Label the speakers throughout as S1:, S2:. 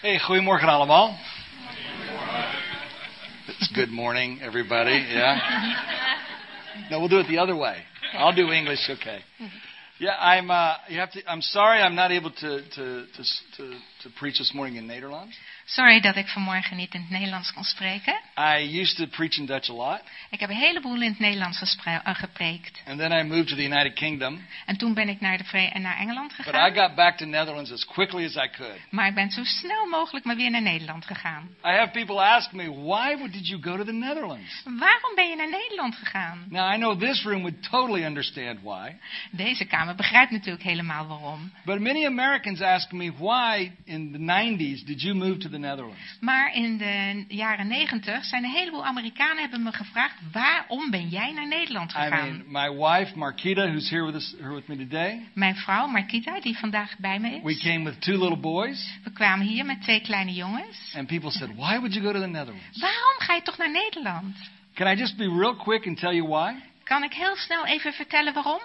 S1: Hey, goedemorgen allemaal. It's good morning, everybody. Yeah. No, we'll do it the other way. I'll do English, okay. Yeah, I'm. Uh, you have to. I'm sorry, I'm not able to to to to, to preach this morning in Nederlands.
S2: Sorry dat ik vanmorgen niet in het Nederlands kon spreken.
S1: I used to preach in Dutch a lot,
S2: Ik heb een heleboel in het Nederlands gespre- eh, gepreekt.
S1: and then I moved to the United Kingdom.
S2: En toen ben ik naar, de Vere- eh, naar Engeland
S1: But I
S2: gegaan.
S1: got back to Netherlands as quickly as I could.
S2: Maar ik ben zo snel mogelijk maar weer naar Nederland gegaan.
S1: I have people ask me, why would- did you go to the Netherlands?
S2: Waarom ben je naar Nederland gegaan?
S1: Now I know this room would totally understand why,
S2: Deze Kamer begrijpt natuurlijk helemaal waarom.
S1: but many Americans ask me why in the 90s did you move to the Netherlands?
S2: Maar in de jaren negentig zijn een heleboel Amerikanen hebben me gevraagd... waarom ben jij naar Nederland
S1: I
S2: gegaan?
S1: mean, my wife Marquita, who's here with us here with me today,
S2: Mijn vrouw Markita, die vandaag bij me
S1: we
S2: is...
S1: came with two little boys,
S2: we kwamen hier met twee kleine jongens.
S1: and people said, why would you go to the Netherlands?
S2: Waarom ga je toch naar Nederland?
S1: Can I just be real quick and tell you why?
S2: Kan ik heel snel even vertellen waarom?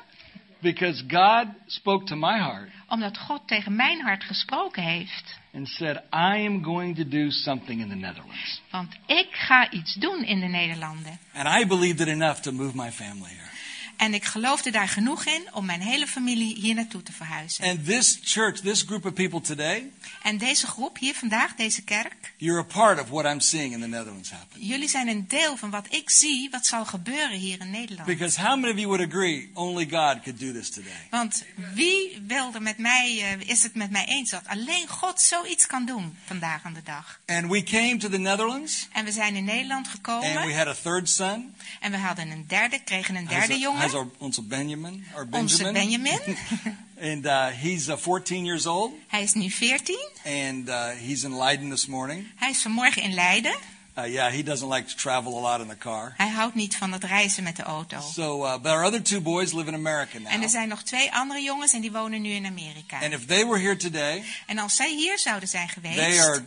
S1: Because God spoke to my heart
S2: Omdat God tegen mijn hart gesproken heeft.
S1: and said, I am going to do something in the Netherlands.
S2: Want ik ga iets doen in de Nederlanden.
S1: And I believed it enough to move my family here.
S2: En ik geloofde daar genoeg in om mijn hele familie hier naartoe te verhuizen.
S1: And this church, this group of people today,
S2: En deze groep hier vandaag, deze kerk,
S1: you're a part of what I'm seeing in the Netherlands happen.
S2: jullie zijn een deel van wat ik zie, wat zal gebeuren hier in Nederland.
S1: Because how many of you would agree only God could do this today?
S2: Want wie wilde met mij, eh, is het met mij eens dat alleen God zoiets kan doen vandaag aan de dag?
S1: And we came to the Netherlands,
S2: En we zijn in Nederland
S1: and we
S2: gekomen
S1: had a third son.
S2: en we hadden een derde, kregen een
S1: Hij
S2: derde
S1: is- hij is
S2: jongen,
S1: our- onze Benjamin. Our
S2: onze
S1: Benjamin.
S2: Benjamin.
S1: and uh, he's uh, 14 years old,
S2: Hij is nu 14.
S1: and uh, he's in Leiden this morning.
S2: Hij is vanmorgen in Leiden.
S1: Uh, yeah, he doesn't like to travel a lot in the car.
S2: Hij houdt niet van het reizen met de auto.
S1: So, uh, but our other two boys live in America now.
S2: En er zijn nog twee andere jongens en die wonen nu in Amerika.
S1: And if they were here today,
S2: En als zij hier zouden zijn
S1: they
S2: geweest,
S1: are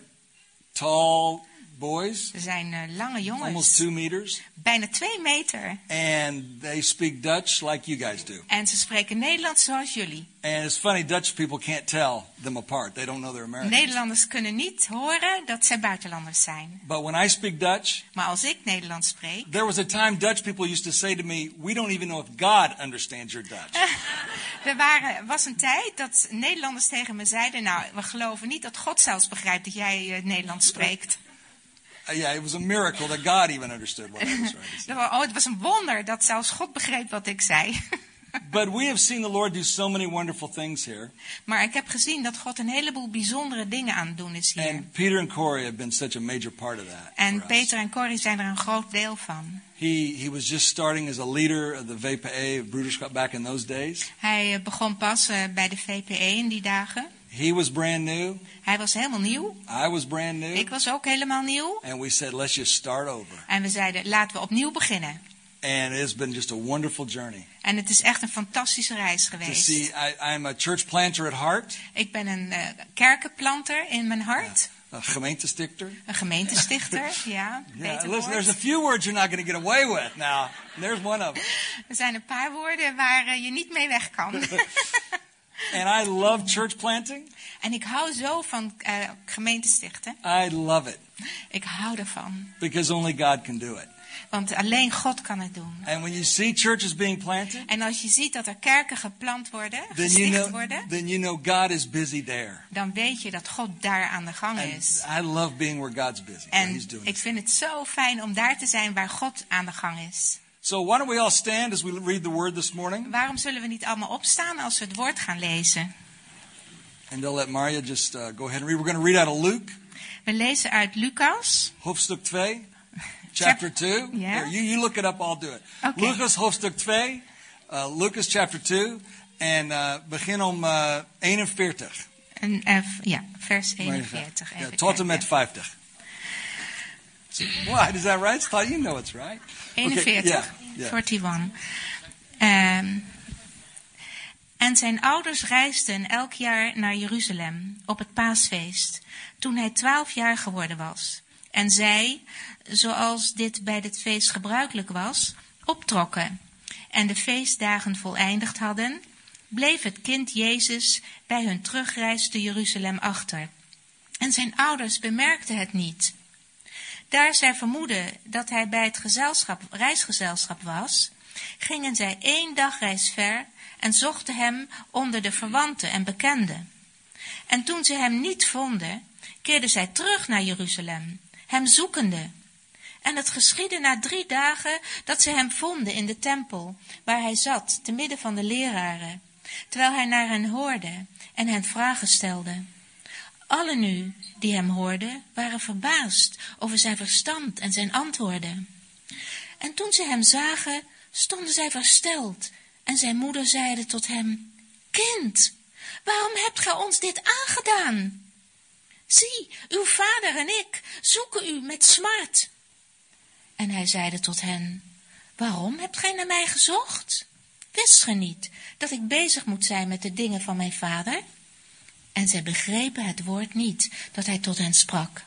S1: tall boys,
S2: ze zijn eh, lange
S1: almost
S2: jongens,
S1: two meters,
S2: bijna twee meter.
S1: and they speak Dutch like you guys do.
S2: En ze spreken Nederlands zoals jullie.
S1: And it's funny, Dutch people can't tell them apart. They don't know they're American.
S2: Nederlanders kunnen niet horen dat zij buitenlanders zijn.
S1: But when I speak Dutch,
S2: Maar als ik Nederlands spreek,
S1: there was a time Dutch people used to say to me, "We don't even know if God understands your Dutch."
S2: er waren, was een tijd dat Nederlanders tegen me zeiden, nou, we geloven niet dat God zelfs begrijpt dat jij eh, Nederlands spreekt.
S1: Uh, yeah, it was a miracle that God even understood what I was trying to say.
S2: Dat wa- Oh, het was een wonder dat zelfs God begreep wat ik zei.
S1: But we have seen the Lord do so many wonderful things here,
S2: Maar ik heb gezien dat God een heleboel bijzondere dingen aan het doen is hier.
S1: and Peter and Corey have been such a major part of that. for
S2: en
S1: us.
S2: Peter en Corrie zijn er een groot deel van.
S1: he he was just starting as a leader of the VPA of Bruderschap back in those days.
S2: Hij eh, begon pas eh, bij de VPE in die dagen.
S1: He was brand new.
S2: Hij was helemaal nieuw.
S1: I was brand new.
S2: Ik was ook helemaal nieuw.
S1: and we said, let's just start over.
S2: En we zeiden, laten we opnieuw beginnen.
S1: And it's been just a wonderful journey.
S2: En het is echt een fantastische reis
S1: To
S2: geweest.
S1: see, I, I'm a church planter at heart,
S2: Ik ben een eh, kerkenplanter in mijn hart.
S1: a gemeentestichter.
S2: Een gemeentestichter, ja.
S1: Yeah,
S2: beter
S1: listen, there's a
S2: woord.
S1: few words you're not going to get away with now. and There's one of them.
S2: Er zijn een paar woorden waar eh, je niet mee weg kan.
S1: And I love church planting.
S2: en ik hou zo van eh gemeentestichten.
S1: I love it
S2: Ik hou ervan.
S1: because only God can do it.
S2: Want alleen God kan het doen.
S1: And when you see churches being planted,
S2: En als je ziet dat er kerken geplant worden,
S1: then you
S2: gesticht
S1: know,
S2: worden,
S1: then you know God is busy there.
S2: dan weet je dat God daar aan de gang
S1: And
S2: is.
S1: I love being where God's busy. where
S2: En
S1: He's doing.
S2: ik
S1: it.
S2: vind het zo fijn om daar te zijn waar God aan de gang is.
S1: So why don't we all stand as we read the Word this morning,
S2: Waarom zullen we niet allemaal opstaan als we het woord gaan lezen?
S1: and they'll let Maria just uh, go ahead and read. We're going to read out of Luke,
S2: We lezen uit Lucas,
S1: hoofdstuk 2, chapter 2.
S2: Yeah.
S1: Here, you you look it up. I'll do it.
S2: Okay.
S1: Lucas hoofdstuk 2, uh, Lucas chapter 2, en uh, begin om uh, 41.
S2: een, eh, v- ja, vers 41.
S1: Yeah,
S2: Even
S1: tot en met
S2: kijken.
S1: 50. So, why is that right? Thought you know it's right. Okay,
S2: 41,
S1: yeah, yeah.
S2: 41. Ehm, en zijn ouders reisden elk jaar naar Jeruzalem op het paasfeest, toen hij twaalf jaar geworden was. En zij, zoals dit bij dit feest gebruikelijk was, optrokken. En de feestdagen voleindigd hadden, bleef het kind Jezus bij hun terugreis te Jeruzalem achter. En zijn ouders bemerkten het niet. Daar zij vermoeden dat hij bij het gezelschap, reisgezelschap was, gingen zij één dagreis ver en zochten hem onder de verwanten en bekenden. En toen ze hem niet vonden, keerden zij terug naar Jeruzalem, hem zoekende. En het geschiedde na drie dagen dat ze hem vonden in de tempel, waar hij zat, te midden van de leraren, terwijl hij naar hen hoorde en hen vragen stelde. Alle nu die hem hoorden, waren verbaasd over zijn verstand en zijn antwoorden. En toen ze hem zagen, stonden zij versteld, en zijn moeder zeide tot hem: Kind, waarom hebt gij ons dit aangedaan? Zie, uw vader en ik zoeken u met smart. En hij zeide tot hen: Waarom hebt gij naar mij gezocht? Wist gij niet dat ik bezig moet zijn met de dingen van mijn vader? En zij begrepen het woord niet dat hij tot hen sprak.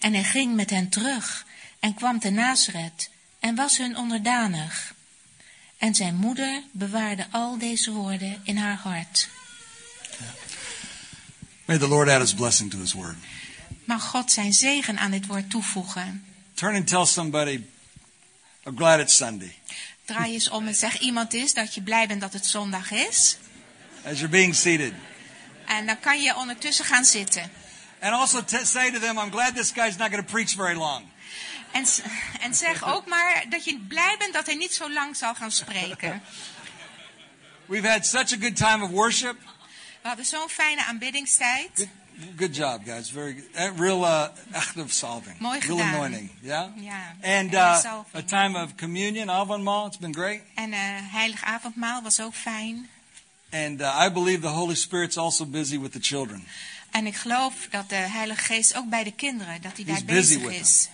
S2: En hij ging met hen terug en kwam te Nazareth en was hun onderdanig. En zijn moeder bewaarde al deze woorden in haar hart.
S1: May the Lord add his blessing to his word.
S2: Mag God zijn zegen aan dit woord toevoegen.
S1: Turn and tell somebody, I'm glad it's Sunday.
S2: Draai eens om en zeg iemand is dat je blij bent dat het zondag is.
S1: As you're being seated.
S2: En dan kan je ondertussen gaan zitten.
S1: And also t- say to them, I'm glad this guy's not going to preach very long.
S2: En, s- en zeg ook maar dat je blij bent dat hij niet zo lang zal gaan spreken.
S1: We've had such a good time of worship.
S2: We hadden zo'n fijne aanbiddingstijd.
S1: Good, good job, guys. Very good. Uh, Real uh, act of solving.
S2: Mooi
S1: Real
S2: gedaan.
S1: anointing. Yeah?
S2: Ja.
S1: And
S2: En
S1: uh,
S2: resolving.
S1: a time of communion, avondmaal. It's been great.
S2: En eh heilig avondmaal was ook fijn.
S1: And uh, I believe the Holy Spirit's also busy with the children.
S2: En ik geloof dat de Heilige Geest ook bij de kinderen, dat hij
S1: He's
S2: daar
S1: busy
S2: bezig
S1: with
S2: is.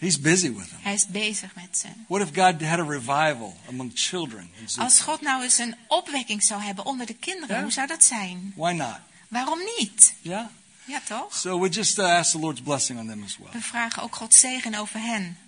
S1: He's busy with them.
S2: Hij is bezig met ze.
S1: What if God had a revival among children? in Zoom?
S2: Als God nou eens een opwekking zou hebben onder de kinderen,
S1: Ja.
S2: hoe zou dat zijn?
S1: Why not?
S2: Waarom niet?
S1: Yeah?
S2: Ja, toch?
S1: So we just uh, ask the Lord's blessing on them as well.
S2: We vragen ook Gods zegen over hen.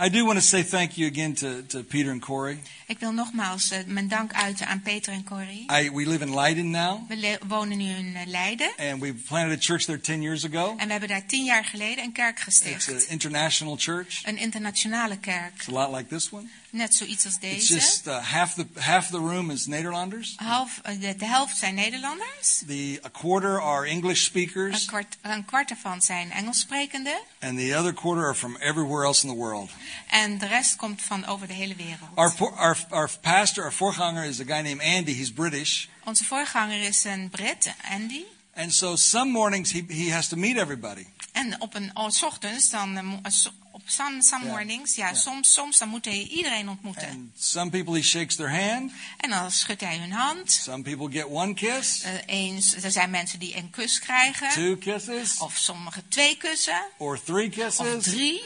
S1: I do want to say thank you again to, to Peter and Corey.
S2: Ik wil nogmaals eh, mijn dank uiten aan Peter en Corrie.
S1: I, we live in Leiden now,
S2: We le- wonen nu in eh, Leiden
S1: and we planted a church there 10 years ago.
S2: en we hebben daar tien jaar geleden een kerk
S1: It's
S2: gesticht.
S1: an international church.
S2: Een internationale kerk.
S1: It's a lot like this one.
S2: Net zoiets als
S1: It's
S2: deze.
S1: just uh, half the half the room is Nederlanders.
S2: Half, eh, de, de helft zijn Nederlanders.
S1: The a quarter are English
S2: Een
S1: speakers,
S2: kwart, een kwart ervan zijn Engelssprekenden.
S1: and the other quarter are from everywhere else in the world.
S2: En de rest komt van over de hele wereld.
S1: Our por- our our pastor, our voorganger, is a guy named Andy. He's British,
S2: Onze voorganger is een Brit, Andy.
S1: and so some mornings he he has to meet everybody.
S2: En op een oh, 's ochtends, dan, eh, mo- eh, so- op some, some
S1: Ja.
S2: mornings, ja,
S1: Ja.
S2: Soms, soms dan moet hij iedereen ontmoeten. En,
S1: And some people he shakes their hand.
S2: dan schudt hij hun hand.
S1: Some people get one kiss,
S2: Eh, eens, er zijn mensen die een kus krijgen.
S1: two kisses,
S2: Of sommigen twee kussen.
S1: or three
S2: Of
S1: kisses,
S2: drie.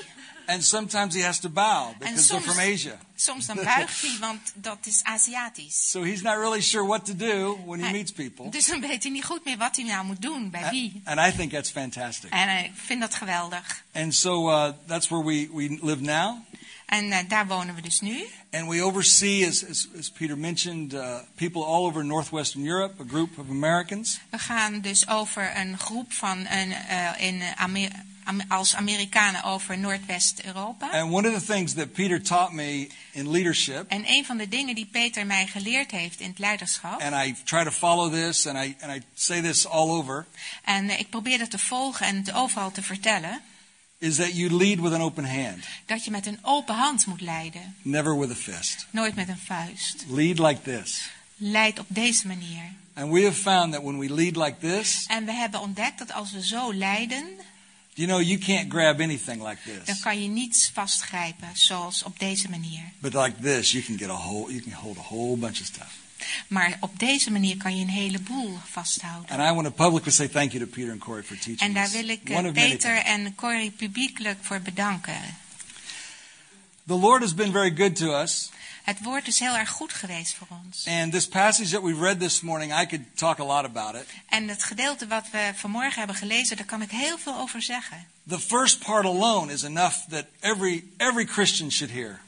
S1: and sometimes he has to bow because they're
S2: soms-
S1: from Asia.
S2: Soms dan buigt hij, want dat is Aziatisch.
S1: So he's not really sure what to do when he
S2: Hij-
S1: meets people.
S2: Dus dan weet hij niet goed meer wat hij nou moet doen, bij wie.
S1: And I think that's fantastic.
S2: En eh, ik vind dat geweldig.
S1: And so uh, that's where we, we live now.
S2: En eh, daar wonen we dus nu.
S1: And we oversee, as, as, as Peter mentioned, uh, people all over Northwestern Europe, a group of Americans.
S2: We gaan dus over een groep van een, eh, in Amer- Am- als Amerikanen over Noordwest-Europa.
S1: And one of the things that Peter taught me in leadership,
S2: En een van de dingen die Peter mij geleerd heeft in het leiderschap.
S1: and I try to follow this, and I, and I say this all over,
S2: En eh, ik probeer dat te volgen en het overal te vertellen.
S1: is that you lead with an open hand,
S2: Dat je met een open hand moet leiden.
S1: never with a fist.
S2: Nooit met een vuist.
S1: Lead like this.
S2: Leid op deze manier.
S1: And we have found that when we lead like this,
S2: En we hebben ontdekt dat als we zo leiden,
S1: you know, you can't grab anything like
S2: dan
S1: this.
S2: kan je niets vastgrijpen. Zoals op deze manier.
S1: But like this, you can get a whole, you can hold a whole bunch of stuff.
S2: Maar op deze manier kan je een heleboel vasthouden.
S1: And I want to publicly say thank you to Peter and Corey for teaching
S2: En daar
S1: this.
S2: wil ik
S1: One
S2: eh,
S1: of many
S2: Peter
S1: things.
S2: en Corrie publiekelijk voor bedanken.
S1: The Lord has been very good to us,
S2: Het woord is heel erg goed geweest voor ons.
S1: and this passage that we've read this morning, I could talk a lot about it.
S2: En het gedeelte wat we vanmorgen hebben gelezen, daar kan ik heel veel over zeggen.
S1: The first part alone is enough that every every Christian should hear.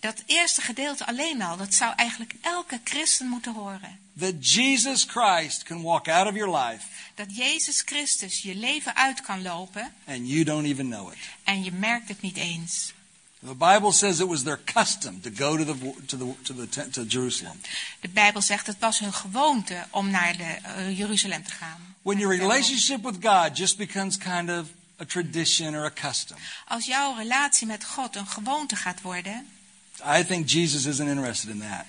S2: Dat- dat eerste gedeelte alleen al, dat zou eigenlijk elke christen moeten horen.
S1: that Jesus Christ can walk out of your life
S2: Dat Jezus Christus je leven uit kan lopen
S1: and you don't even know it.
S2: en je merkt het niet eens.
S1: The Bible says it was their custom to go to the to the to the tent to Jerusalem.
S2: De Bijbel zegt het was hun gewoonte om naar de, eh, Jeruzalem te gaan.
S1: When your relationship with God just becomes kind of a tradition or a custom,
S2: Als jouw relatie met God een gewoonte gaat worden,
S1: I think Jesus isn't interested in that.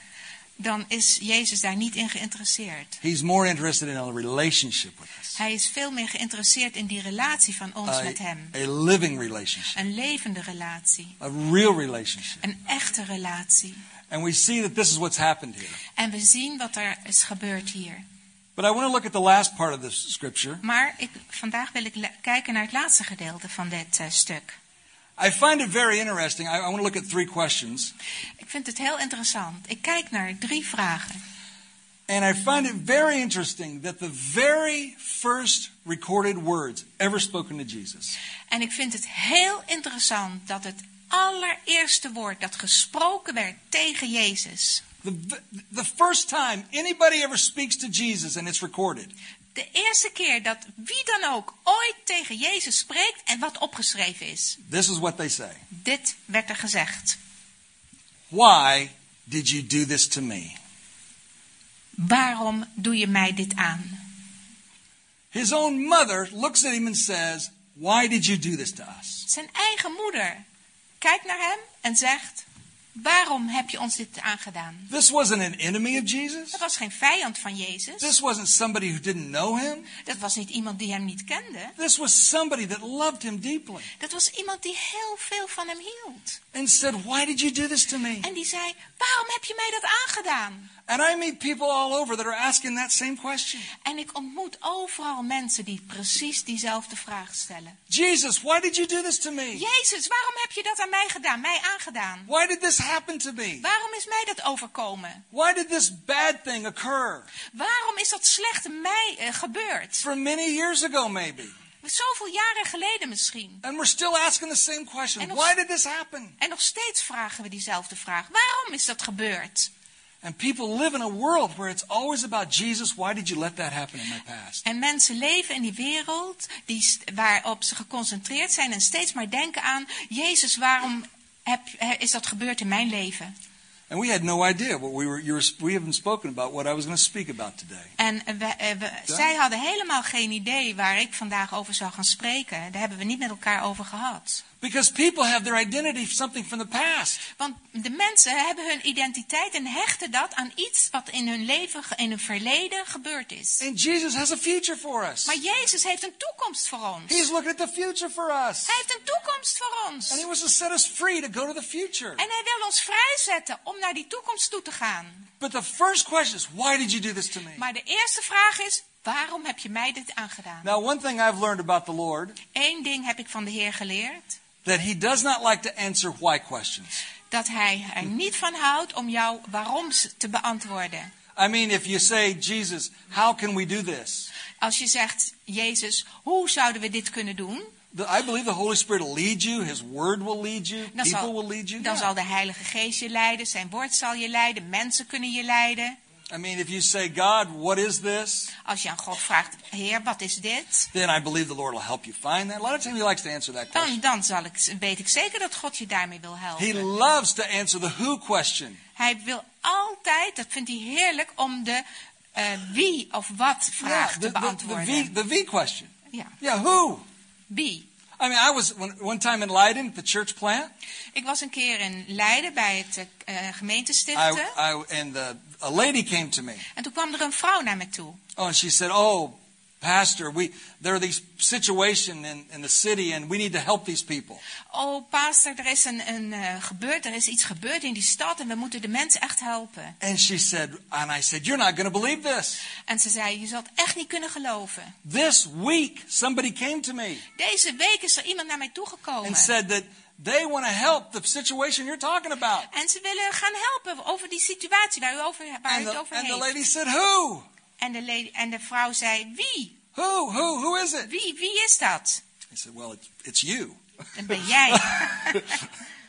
S2: dan is Jezus daar niet in geïnteresseerd.
S1: He's more interested in a relationship with us,
S2: Hij is veel meer geïnteresseerd in die relatie van ons met Hem.
S1: a living relationship,
S2: Een levende relatie,
S1: a real relationship.
S2: een echte relatie.
S1: And we see that this is what's happened here.
S2: En we zien wat er is gebeurd hier.
S1: But I want to look at the last part of this scripture.
S2: Maar ik, vandaag wil ik le- kijken naar het laatste gedeelte van dit eh, stuk.
S1: I find it very interesting. I, I want to look at three questions.
S2: Ik vind het heel interessant. Ik kijk naar drie vragen.
S1: And I find it very interesting that the very first recorded words ever spoken to Jesus
S2: En ik vind het heel interessant dat het allereerste woord dat gesproken werd tegen Jezus.
S1: The, the first time anybody ever speaks to Jesus and it's recorded,
S2: De eerste keer dat wie dan ook ooit tegen Jezus spreekt en wat opgeschreven is.
S1: this is what they say
S2: Dit werd er gezegd.
S1: Why did you do this to me?
S2: Waarom doe je mij dit aan?
S1: His own mother looks at him and says, Why did you do this to us?
S2: Zijn eigen moeder kijkt naar hem en zegt: Waarom heb je ons dit aangedaan?
S1: This wasn't an enemy of Jesus.
S2: Dat was geen vijand van Jezus.
S1: This wasn't somebody who didn't know him.
S2: Dat was niet iemand die hem niet kende.
S1: This was somebody that loved him deeply
S2: Dat was iemand die heel veel van hem hield.
S1: and said, Why did you do this to me?
S2: En die zei: Waarom heb je mij dat aangedaan?
S1: And I meet people all over that are asking that same question.
S2: En ik ontmoet overal mensen die precies diezelfde vraag stellen.
S1: Jesus, why did you do this to me?
S2: Jezus, waarom heb je dat aan mij gedaan, mij aangedaan?
S1: Why did this happen to me?
S2: Waarom is mij dat overkomen?
S1: Why did this bad thing occur?
S2: Waarom is dat slecht mij eh, gebeurd?
S1: For many years ago, maybe.
S2: Zoveel jaren geleden misschien.
S1: And we're still asking the same question
S2: And
S1: Why
S2: also-
S1: did this happen?
S2: En nog steeds vragen we diezelfde vraag. Waarom is dat gebeurd?
S1: And people live in a world where it's always about Jesus. Why did you let that happen in my past?
S2: En mensen leven in die wereld die, st- waarop ze geconcentreerd zijn en steeds maar denken aan... Jezus, waarom heb, eh, is dat gebeurd in mijn leven?
S1: And we had no idea what we were, you were we haven't spoken about what I was going to speak about today.
S2: En eh, we, eh, we- zij hadden helemaal geen idee waar ik vandaag over zou gaan spreken. Daar hebben we niet met elkaar over gehad.
S1: Because people have their identity something from the past.
S2: Want de mensen hebben hun identiteit en hechten dat aan iets wat in hun leven, ge- in hun verleden gebeurd is.
S1: And Jesus has a future for us.
S2: Maar Jezus heeft een toekomst voor ons.
S1: He's looking at the future for us.
S2: Hij heeft een toekomst voor ons.
S1: And he wants to set us free to go to the future.
S2: En hij wil ons vrijzetten om naar die toekomst toe te gaan.
S1: But the first question is, why did you do this to me?
S2: Maar de eerste vraag is, waarom heb je mij dit aangedaan?
S1: Now, one thing I've learned about the Lord,
S2: Eén ding heb ik van de Heer geleerd.
S1: that he does not like to answer why questions.
S2: Dat hij er niet van houdt om jouw waarom te beantwoorden.
S1: I mean, if you say, Jesus, how can we do this?
S2: Als je zegt, Jezus, hoe zouden we dit kunnen doen?
S1: The- I believe the Holy Spirit will lead you. His word will lead you.
S2: Dan,
S1: people
S2: zal,
S1: will lead you.
S2: dan
S1: Yeah.
S2: zal de Heilige Geest je leiden, zijn woord zal je leiden, mensen kunnen je leiden.
S1: I mean, if you say, God, what is this?
S2: Als je aan God vraagt, Heer, wat is dit?
S1: Then I believe the Lord will help you find that. A lot of times he likes to answer that
S2: Dan,
S1: question.
S2: dan zal ik, weet ik zeker dat God je daarmee wil
S1: He
S2: helpen.
S1: loves to answer the who question.
S2: Hij wil altijd, dat vindt hij heerlijk, om de eh, wie of wat vraag
S1: the,
S2: te
S1: the, the,
S2: beantwoorden.
S1: v, the V question.
S2: Ja,
S1: Yeah, who?
S2: wie.
S1: I mean, I was one, one time in Leiden at the church plant.
S2: Ik was een keer in Leiden bij het eh, eh, gemeentestichten.
S1: I, I, and the, a lady came to me.
S2: En toen kwam er een vrouw naar me toe.
S1: Oh, and she said, "Oh, pastor, we there are these situation in, in the city, and we need to help these people."
S2: Oh, pastor, er is, een, een, eh, gebeurd, er is iets gebeurd in die stad en we moeten de mensen echt helpen.
S1: And she said, and I said, "You're not going to believe this.
S2: En ze zei, je zal het echt niet kunnen geloven.
S1: This week, somebody came to me
S2: Deze week is er iemand naar mij
S1: and
S2: toegekomen.
S1: said that they want to help the situation you're talking about."
S2: En ze willen gaan helpen over die situatie waar u, over, waar u
S1: And
S2: het
S1: the,
S2: over
S1: and the
S2: heeft.
S1: lady said, "Who?
S2: En de, lady, en de vrouw zei, wie?
S1: Who? Who? Who is it?"
S2: Wie, wie is dat?
S1: I said, "Well, it's, it's you."
S2: Dat ben jij.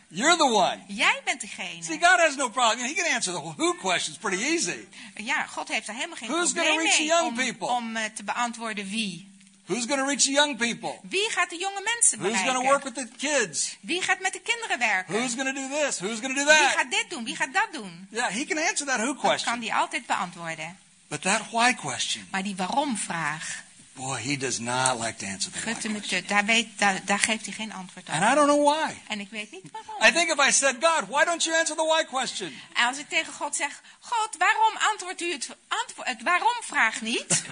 S1: You're the one.
S2: Jij bent
S1: See,
S2: degene.
S1: God has no problem. He can answer the who questions pretty easy.
S2: Ja, God heeft daar helemaal geen
S1: Who's gonna
S2: probleem
S1: reach the
S2: mee
S1: young
S2: om,
S1: people?
S2: om eh, te beantwoorden wie.
S1: Who's going to reach the young people?
S2: Wie gaat de jonge mensen
S1: Who's going to work
S2: bereiken?
S1: with the kids?
S2: Wie gaat met de kinderen werken?
S1: Who's going to do this? Who's going to do
S2: Wie
S1: that?
S2: gaat dit doen? Wie gaat dat doen?
S1: Yeah, he can answer that who
S2: Dat kan
S1: question.
S2: die altijd beantwoorden.
S1: But that why question,
S2: Maar die waarom-vraag,
S1: boy, he does not like to answer the why
S2: gutte me
S1: question.
S2: tut, daar, weet, daar, daar geeft hij geen antwoord
S1: And
S2: op.
S1: I don't know why.
S2: En ik weet niet waarom.
S1: I think if I said, God, why don't you answer the why question?
S2: En als ik tegen God zeg, God, waarom antwoordt u het, antwo- het waarom-vraag niet?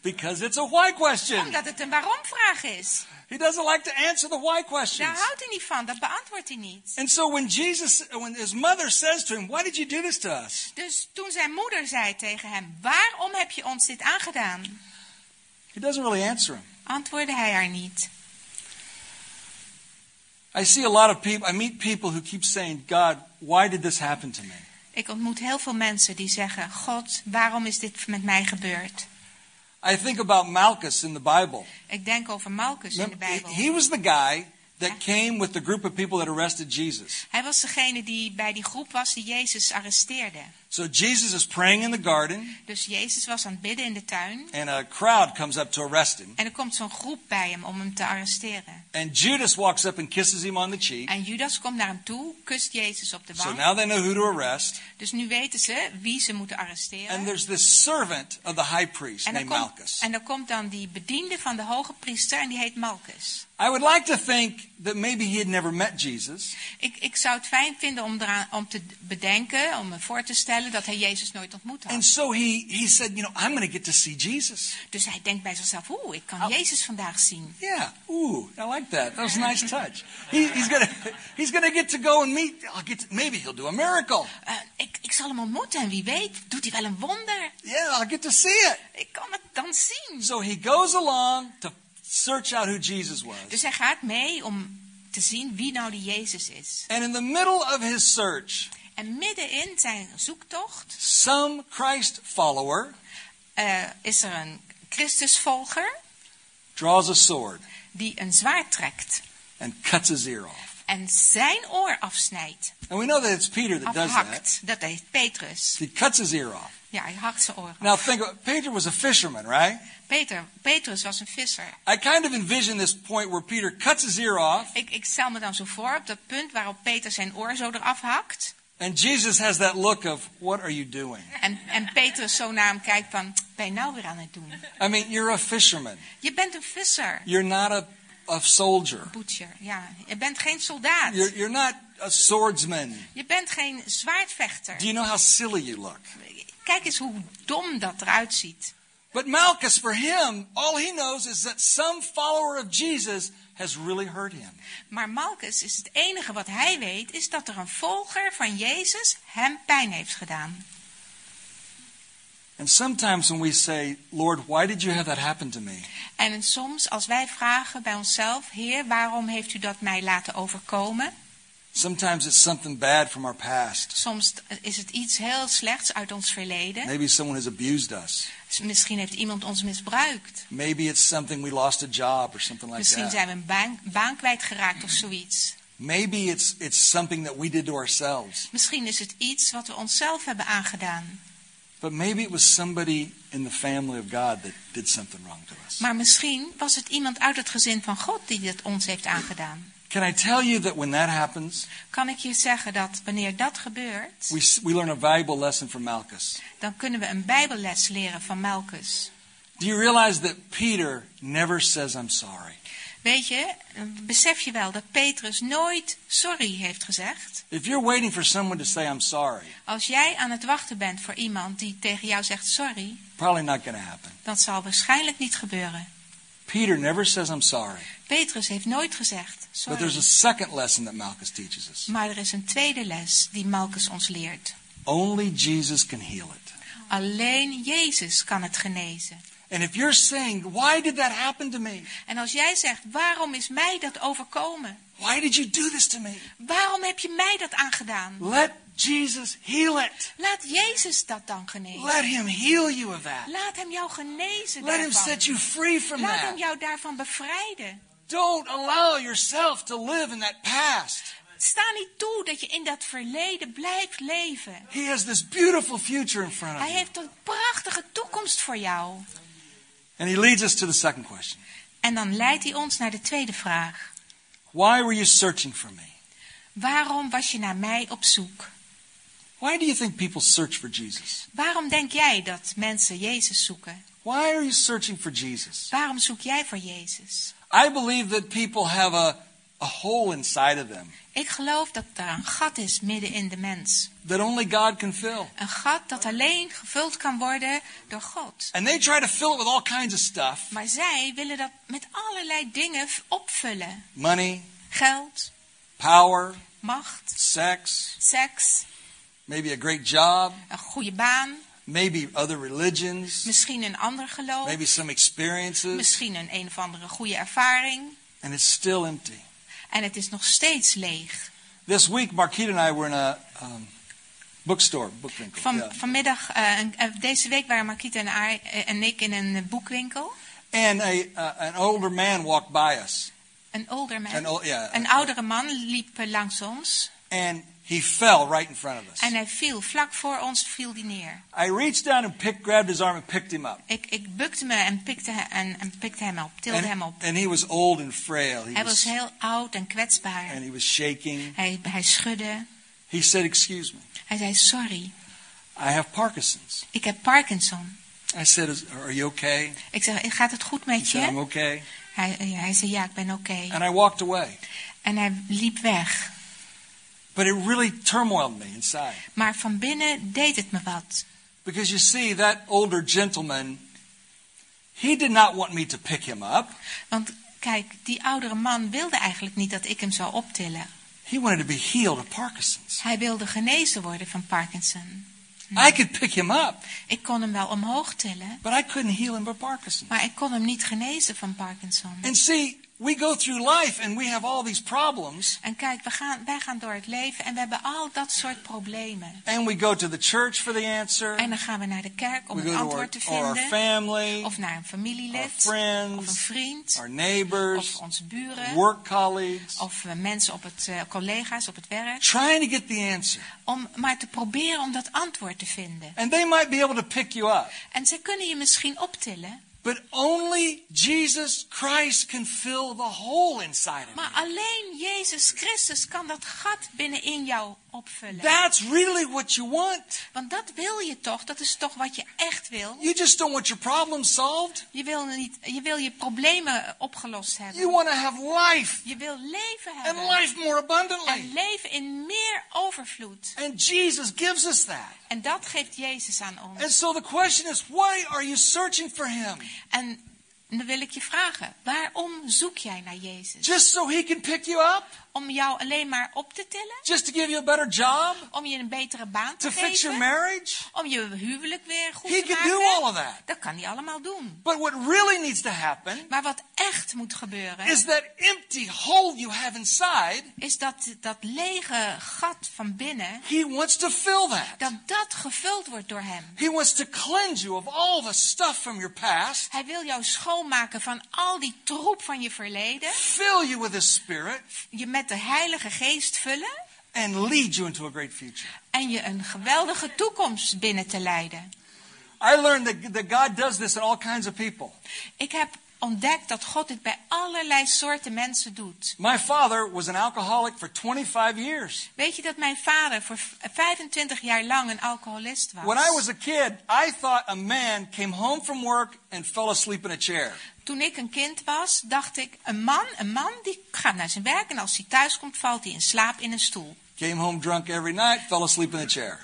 S1: Because it's a why question.
S2: Omdat het een waarom-vraag is.
S1: He doesn't like to answer the why questions.
S2: Daar houdt hij niet van, dat beantwoordt hij niet.
S1: And so when Jesus, when his mother says to him, why did you do this to us?
S2: Dus toen zijn moeder zei tegen hem, waarom heb je ons dit aangedaan?
S1: He doesn't really answer him.
S2: Antwoordde hij haar niet.
S1: I see a lot of people, I meet people who keep saying, God, why did this happen to me?
S2: Ik ontmoet heel veel mensen die zeggen, God, waarom is dit met mij gebeurd?
S1: I think about Malchus in the Bible.
S2: Ik denk over Malchus in de
S1: Remember,
S2: Bijbel.
S1: he he was the guy that came with the group of people that arrested Jesus.
S2: Hij was degene die bij die groep was die Jezus arresteerde.
S1: So Jesus is praying in the garden,
S2: Dus Jezus was aan het bidden in de tuin.
S1: and a crowd comes up to arrest him.
S2: En er komt zo'n groep bij hem om hem te arresteren.
S1: And Judas walks up and kisses him on the cheek.
S2: En Judas komt naar hem toe, kust Jezus op de
S1: So
S2: wang.
S1: now they know who to arrest.
S2: Dus nu weten ze wie ze moeten arresteren.
S1: And there's this servant of the high priest
S2: En dan,
S1: named
S2: komt,
S1: Malchus.
S2: en dan komt dan die bediende van de hoge priester en die heet Malchus.
S1: I would like to think that maybe he had never met Jesus,
S2: Ik, ik zou het fijn vinden om, eraan, om te bedenken, om me voor te stellen dat hij Jezus nooit ontmoet had.
S1: and so he, he said, You know, I'm going to get to see Jesus.
S2: Dus hij denkt bij zichzelf, oeh, ik kan
S1: Au.
S2: Jezus vandaag zien.
S1: Yeah, ooh, I like that. That was a nice touch. He, he's going to he's gonna get to go and meet, I'll get to, maybe he'll do a miracle.
S2: Eh, ik, ik zal hem ontmoeten en wie weet doet hij wel een wonder.
S1: Yeah, I'll get to see it.
S2: Ik kan het dan zien.
S1: So he goes along to search out who Jesus was.
S2: Dus hij gaat mee om te zien wie nou die Jezus is.
S1: And in the middle of his search,
S2: En middenin zijn zoektocht
S1: some Christ follower
S2: eh, is er een Christusvolger
S1: draws a sword
S2: die een zwaard trekt
S1: and cuts his ear off.
S2: en zijn oor afsnijdt.
S1: And we know that it's Peter
S2: Oh,
S1: that does that.
S2: afhakt. Dat heet Petrus.
S1: He cuts his ear off.
S2: Ja, hij hakt zijn oor
S1: Now
S2: af.
S1: think, of, Peter was a fisherman, right?
S2: Peter, Petrus was een visser.
S1: I kind of envision this point where Peter cuts his ear off,
S2: Ik, ik stel me dan zo voor op dat punt waarop Peter zijn oor zo eraf hakt.
S1: and Jesus has that look of, "What are you doing?"
S2: En, en Petrus zo naar hem kijkt van, "Wat ben je nou weer aan het doen?
S1: I mean, you're a fisherman.
S2: Je bent een visser,
S1: You're not a, a soldier.
S2: butcher. Ja, je bent geen soldaat.
S1: You're, you're not a swordsman.
S2: Je bent geen zwaardvechter.
S1: Do you know how silly you look?
S2: Kijk eens hoe dom dat eruit ziet.
S1: But Malchus, for him, all he knows is that some follower of Jesus has really hurt him.
S2: Maar Malchus is het enige wat hij weet, is dat er een volger van Jezus hem pijn heeft gedaan.
S1: And sometimes when we say, Lord, why did you have that happen to me?
S2: En soms als wij vragen bij onszelf, Heer, waarom heeft u dat mij laten overkomen?
S1: Sometimes it's something bad from our past.
S2: Soms t- is het iets heel slechts uit ons verleden.
S1: Maybe someone has abused us.
S2: S- Misschien heeft iemand ons misbruikt.
S1: Maybe it's something we lost a job or something like
S2: Misschien
S1: that.
S2: zijn we een baan, baan kwijtgeraakt of zoiets.
S1: Maybe it's it's something that we did to ourselves.
S2: Misschien is het iets wat we onszelf hebben aangedaan.
S1: But maybe it was somebody in the family of God that did something wrong to us.
S2: Maar misschien was het iemand uit het gezin van God die dit ons heeft aangedaan.
S1: Can I tell you that when that happens,
S2: Kan ik je zeggen dat wanneer dat gebeurt,
S1: we s- we learn a valuable lesson from Malchus.
S2: dan kunnen we een Bijbelles leren van Malchus.
S1: Do you realize that Peter never says I'm sorry?
S2: Weet je, besef je wel dat Petrus nooit sorry heeft gezegd?
S1: If you're waiting for someone to say I'm sorry,
S2: Als jij aan het wachten bent voor iemand die tegen jou zegt sorry,
S1: probably not going to happen.
S2: dat zal waarschijnlijk niet gebeuren.
S1: Peter never says I'm sorry.
S2: Petrus heeft nooit gezegd
S1: But there's a
S2: sorry.
S1: second lesson that Malchus teaches us.
S2: Maar er is een tweede les die Malchus ons leert.
S1: Only Jesus can heal it.
S2: Alleen Jezus kan het genezen.
S1: And if you're saying, why did that happen to me?
S2: En als jij zegt, waarom is mij dat overkomen?
S1: Why did you do this to me?
S2: Waarom heb je mij dat aangedaan?
S1: Let Jesus heal it.
S2: Laat Jezus dat dan genezen.
S1: Let him heal you of that.
S2: Laat hem jou genezen
S1: Let him
S2: daarvan.
S1: set you free from
S2: Laat hem
S1: that.
S2: jou daarvan bevrijden.
S1: Don't allow yourself to live in that past.
S2: Sta niet toe dat je in dat verleden blijft leven.
S1: He has this beautiful future in front of
S2: Hij
S1: you.
S2: heeft een prachtige toekomst voor jou.
S1: And he leads us to the second question
S2: En dan leidt hij ons naar de tweede vraag.
S1: Why were you searching for me?
S2: Waarom was je naar mij op zoek?
S1: Why do you think people search for Jesus?
S2: Waarom denk jij dat mensen Jezus zoeken?
S1: Why are you searching for Jesus?
S2: Waarom zoek jij voor Jezus?
S1: I believe that people have a, a hole inside of them
S2: Ik geloof dat daar een gat is midden in de mens.
S1: that only God can fill.
S2: Een gat dat alleen gevuld kan worden door God.
S1: And they try to fill it with all kinds of stuff
S2: Maar zij willen dat met allerlei dingen v- opvullen.
S1: money,
S2: Geld,
S1: power,
S2: macht,
S1: sex,
S2: seks,
S1: maybe a great job,
S2: een goede baan,
S1: maybe other religions,
S2: misschien een ander geloof,
S1: maybe some experiences,
S2: misschien een een of andere goede ervaring.
S1: and it's still empty.
S2: En het is nog steeds leeg.
S1: This week, Marquita and I were in a um, bookstore, book winkel,
S2: Van,
S1: yeah.
S2: Vanmiddag, eh, een- eh, deze week waren Marquita en, I- eh, en ik in een eh, boekwinkel.
S1: and a, uh, an older man walked by us.
S2: Een older man.
S1: An old, yeah,
S2: Een oudere man liep eh, langs ons
S1: and he fell right in front of us.
S2: en hij viel vlak voor ons viel die neer.
S1: I reached down and picked, grabbed his arm and picked him up.
S2: Ik, ik bukte me en pikte, he- en, en pikte hem op, tilde
S1: And,
S2: hem op.
S1: and he was old and frail. He
S2: Hij was
S1: was,
S2: heel oud en kwetsbaar.
S1: and he was shaking.
S2: Hij, hij schudde.
S1: He said, "Excuse me,
S2: Hij zei, sorry,
S1: I have Parkinson's."
S2: ik heb Parkinson.
S1: I said, "Is- "Are you okay?"
S2: Ik zeg, gaat het goed
S1: He
S2: met
S1: said, "I'm
S2: je?
S1: okay."
S2: Hij, hij zei, ja, ik ben oké.
S1: And I walked away.
S2: En hij liep weg.
S1: But it really turmoiled me inside
S2: Maar van binnen deed het me wat.
S1: because you see, that older gentleman, he did not want me to pick him up.
S2: Want kijk, die oudere man wilde eigenlijk niet dat ik hem zou optillen.
S1: He wanted to be healed of Parkinson's.
S2: Hij wilde genezen worden van Parkinson.
S1: I could pick him up,
S2: Ik kon hem wel omhoog tillen,
S1: but I couldn't heal him of Parkinson's.
S2: maar ik kon hem niet genezen van Parkinson.
S1: And see, we go through life and we have all these problems,
S2: En kijk, we gaan, wij gaan door het leven en we hebben al dat soort problemen.
S1: and we go to the church for the answer.
S2: En dan gaan we naar de kerk om
S1: We
S2: een
S1: go to our,
S2: antwoord te
S1: or our
S2: vinden.
S1: family,
S2: Of naar een
S1: our
S2: familielid, of een
S1: friends,
S2: vriend,
S1: our
S2: of
S1: neighbors,
S2: onze buren,
S1: work colleagues,
S2: of eh, mensen op het, eh, collega's op het werk.
S1: trying to get the answer.
S2: Om maar te proberen om dat antwoord te vinden.
S1: And they might be able to pick you up.
S2: En ze kunnen je misschien optillen,
S1: But only Jesus Christ can fill the hole inside of you.
S2: maar alleen Jezus Christus kan dat gat binnenin jou opvullen.
S1: That's really what you want.
S2: Want dat wil je toch, dat is toch wat je echt wil.
S1: You just don't want your problems solved.
S2: Je wil, niet, je, wil je problemen opgelost
S1: You
S2: hebben.
S1: want to have life
S2: Je wil leven
S1: and
S2: hebben.
S1: life more
S2: En
S1: abundantly.
S2: leven in meer overvloed.
S1: And Jesus gives us that.
S2: En dat geeft Jezus aan
S1: And
S2: ons.
S1: so the question is, why are you searching for him?
S2: En dan wil ik je vragen, waarom zoek jij naar Jezus?
S1: Just so he can pick you up?
S2: Om jou alleen maar op te tillen?
S1: Just to give you a better job?
S2: Om je een betere baan
S1: To
S2: te
S1: fix your
S2: geven?
S1: marriage?
S2: Om je huwelijk weer goed
S1: He
S2: te
S1: can do all
S2: maken?
S1: of that.
S2: Dat kan hij allemaal doen.
S1: But what really needs to happen
S2: Maar wat echt moet gebeuren,
S1: is that empty hole you have inside,
S2: is dat dat lege gat van binnen,
S1: he wants to fill that.
S2: dat dat gevuld wordt door hem.
S1: He wants to cleanse you of all the stuff from your past,
S2: Hij wil jou schoonmaken van al die troep van je verleden,
S1: fill you with his spirit,
S2: je met de Heilige Geest vullen
S1: and lead you into a great future.
S2: en je een geweldige toekomst binnen te leiden.
S1: I learned that, that God does this in all kinds of people.
S2: Ik heb ontdekt dat God dit bij allerlei soorten mensen doet.
S1: My father was an alcoholic for 25 years.
S2: Weet je dat mijn vader voor v- 25 jaar lang een alcoholist was?
S1: When I was a kid, I thought a man came home from work and fell asleep in a chair.
S2: Toen ik een kind was, dacht ik, een man, een man die gaat naar zijn werk en als hij thuis komt valt hij in slaap in een stoel.
S1: Came home drunk every night, fell asleep in a chair.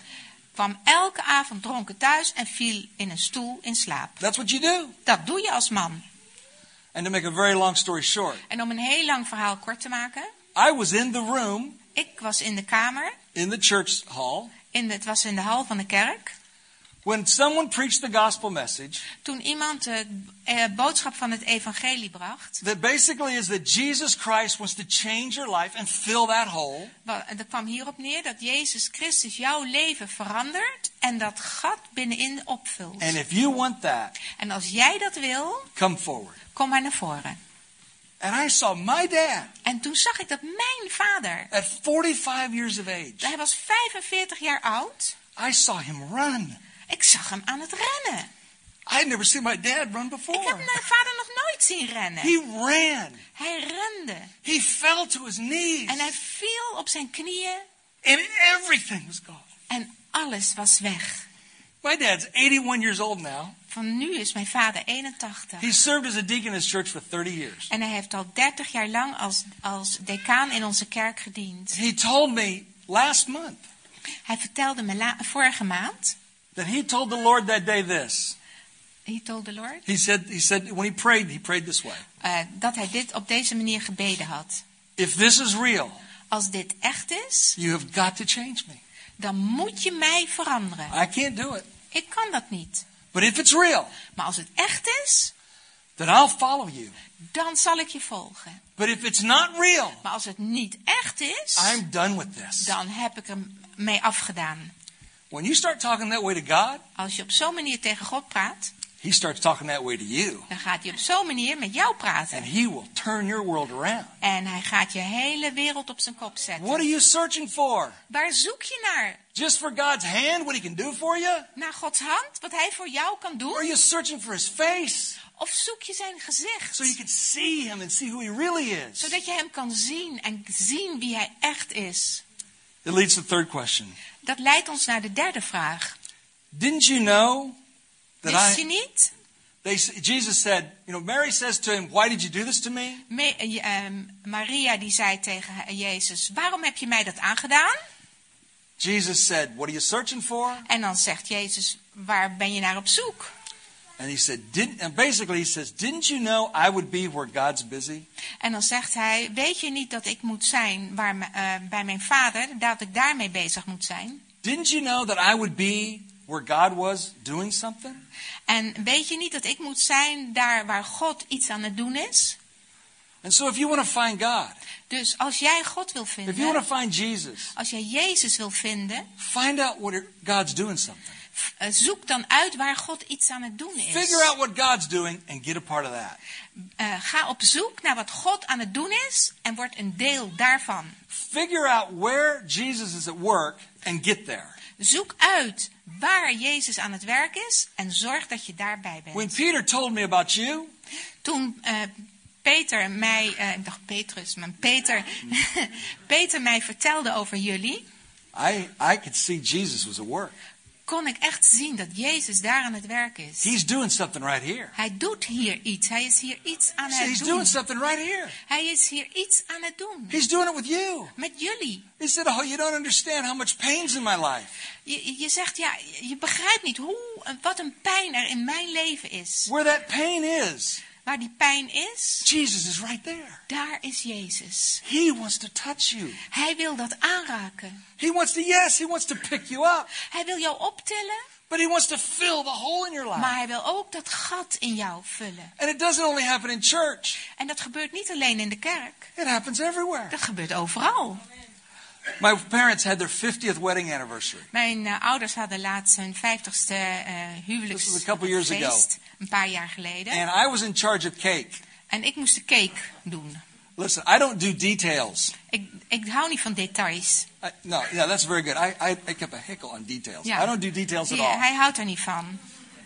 S2: Kwam elke avond dronken thuis en viel in een stoel in slaap.
S1: That's what you do.
S2: Dat doe je als man.
S1: And to make a very long story short,
S2: En om een heel lang verhaal kort te maken,
S1: I was in the room
S2: ik was in de kamer,
S1: in the church hall
S2: in de- het was in de hal van de kerk,
S1: when someone preached the gospel message
S2: toen iemand de eh, boodschap van het evangelie bracht.
S1: that basically is that Jesus Christ wants to change your life and fill that hole.
S2: Wa- En dat kwam hierop neer dat Jezus Christus jouw leven verandert en dat gat binnenin opvult.
S1: And if you want that,
S2: En als jij dat wil,
S1: come forward.
S2: kom maar naar voren.
S1: And I saw my dad
S2: En toen zag ik dat mijn vader,
S1: at 45 years of age.
S2: hij was 45 jaar oud,
S1: I saw him run.
S2: ik zag hem aan het rennen.
S1: I had never seen my dad run
S2: Ik heb
S1: before.
S2: mijn vader nog nooit zien rennen.
S1: He ran.
S2: Hij rende
S1: He fell to his knees.
S2: en hij viel op zijn knieën
S1: And everything was gone.
S2: en alles was weg.
S1: My dad's 81 years old now.
S2: Van nu is mijn vader 81.
S1: He served as a deacon in his church for 30 years.
S2: En hij heeft al 30 jaar lang als, als decaan in onze kerk gediend.
S1: He told me last month
S2: Hij vertelde me la- vorige maand,
S1: that he told the Lord that day this.
S2: he told the Lord,
S1: He said, he said when he prayed, he prayed this way.
S2: eh, dat hij dit op deze manier gebeden had.
S1: If this is real,
S2: Als dit echt is,
S1: you have got to change me.
S2: dan moet je mij veranderen.
S1: I can't do it.
S2: Ik kan dat niet.
S1: But if it's real,
S2: Maar als het echt is,
S1: then I'll follow you.
S2: dan zal ik je volgen.
S1: But if it's not real,
S2: Maar als het niet echt is,
S1: I'm done with this.
S2: dan heb ik hem mee afgedaan.
S1: When you start talking that way to God,
S2: Als je op zo'n manier tegen God praat,
S1: He starts talking that way to you,
S2: dan gaat hij op zo'n manier met jou
S1: and
S2: praten.
S1: He will turn your world around.
S2: En hij gaat je hele wereld op zijn kop zetten.
S1: What are you searching for?
S2: Waar zoek je naar?
S1: Just for God's hand, what He can do for you?
S2: Naar Gods hand, wat hij voor jou kan
S1: Or are
S2: doen?
S1: you searching for His face
S2: Of zoek je zijn gezicht?
S1: so you can see Him and see who He really is?
S2: Zodat je hem kan zien en zien wie hij echt is.
S1: It leads to the third question.
S2: Dat leidt ons naar de derde vraag.
S1: Didn't you know that
S2: Wist je
S1: I?
S2: niet?
S1: They, Jesus said, you know, Mary says to him, "Why did you do this to me?"
S2: Me- eh, je- ehm, Maria die zei tegen Jezus, waarom heb je mij dat aangedaan?
S1: Jesus said, "What are you searching for?"
S2: En dan zegt Jezus, waar ben je naar op zoek?
S1: And he said, "Didn't." And basically, he says, "Didn't you know I would be where God's busy?"
S2: En dan zegt hij, weet je niet dat ik moet zijn waar, me- eh, bij mijn vader, dat ik daarmee bezig moet zijn?
S1: Didn't you know that I would be where God was doing something?
S2: En weet je niet dat ik moet zijn daar waar God iets aan het doen is?
S1: And so, if you want to find God,
S2: Dus als jij God wil
S1: if you want to
S2: vinden,
S1: find Jesus,
S2: als jij Jezus wil vinden,
S1: find out what God's doing something.
S2: f- eh, zoek dan uit waar God iets aan het doen is.
S1: Figure out what God's doing and get a part of that.
S2: Eh, ga op zoek naar wat God aan het doen is en word een deel daarvan.
S1: Figure out where Jesus is at work and get there.
S2: Zoek uit waar Jezus aan het werk is en zorg dat je daarbij bent.
S1: When Peter told me about you,
S2: Toen eh, Peter mij, eh, ik dacht Petrus, maar Peter, Peter mij vertelde over jullie,
S1: I I could see Jesus was at work.
S2: kon ik echt zien dat Jezus daar aan het werk is.
S1: He's doing something right here.
S2: Hij doet hier iets. Hij is hier iets aan
S1: So
S2: het
S1: he's doing
S2: doen.
S1: something right here.
S2: Hij is hier iets aan het doen.
S1: He's doing it with you.
S2: Met jullie.
S1: He said, "Oh, you don't understand how much pain's in my life.
S2: Je, je zegt, ja, je begrijpt niet hoe, wat een pijn er in mijn leven is.
S1: Where that pain is,
S2: Waar die pijn is,
S1: Jesus is right there."
S2: daar is Jezus.
S1: He wants to touch you.
S2: Hij wil dat aanraken.
S1: He wants to, yes, he wants to pick you up,
S2: Hij wil jou optillen,
S1: but he wants to fill the hole in your life.
S2: maar hij wil ook dat gat in jou vullen.
S1: and it doesn't only happen in church,
S2: En dat gebeurt niet alleen in de kerk.
S1: it happens everywhere.
S2: Dat gebeurt overal.
S1: My parents had their 50th wedding anniversary.
S2: Mijn eh, ouders hadden laatst hun 50ste eh
S1: This was a couple years ago.
S2: huwelijksfeest. Een paar jaar geleden.
S1: And I was in charge of cake.
S2: En ik moest de cake doen.
S1: Listen, I don't do details.
S2: Ik, ik hou niet van details.
S1: I, no, yeah, that's very good. I, I, I kept a heckle on details.
S2: Ja.
S1: I don't do details at
S2: Die-
S1: all.
S2: hij houdt er niet van.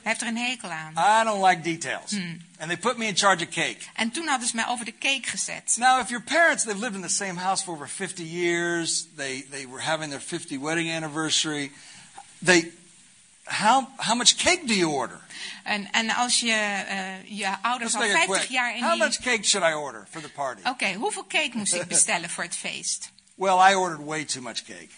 S2: Hij heeft er een hekel aan.
S1: I don't like details. And they put me in charge of cake.
S2: En toen hadden ze mij over de cake gezet.
S1: Now, if your parents, they've lived in the same house for over 50 years, they, they were having their 50 wedding anniversary, they, how, how much cake do you order?
S2: En, en als je eh, je ouders al
S1: make it
S2: 50 jaar in
S1: How
S2: die...
S1: much cake should I order for the party?
S2: Oké, hoeveel cake moest ik bestellen voor het feest?
S1: Well, I ordered way too much cake.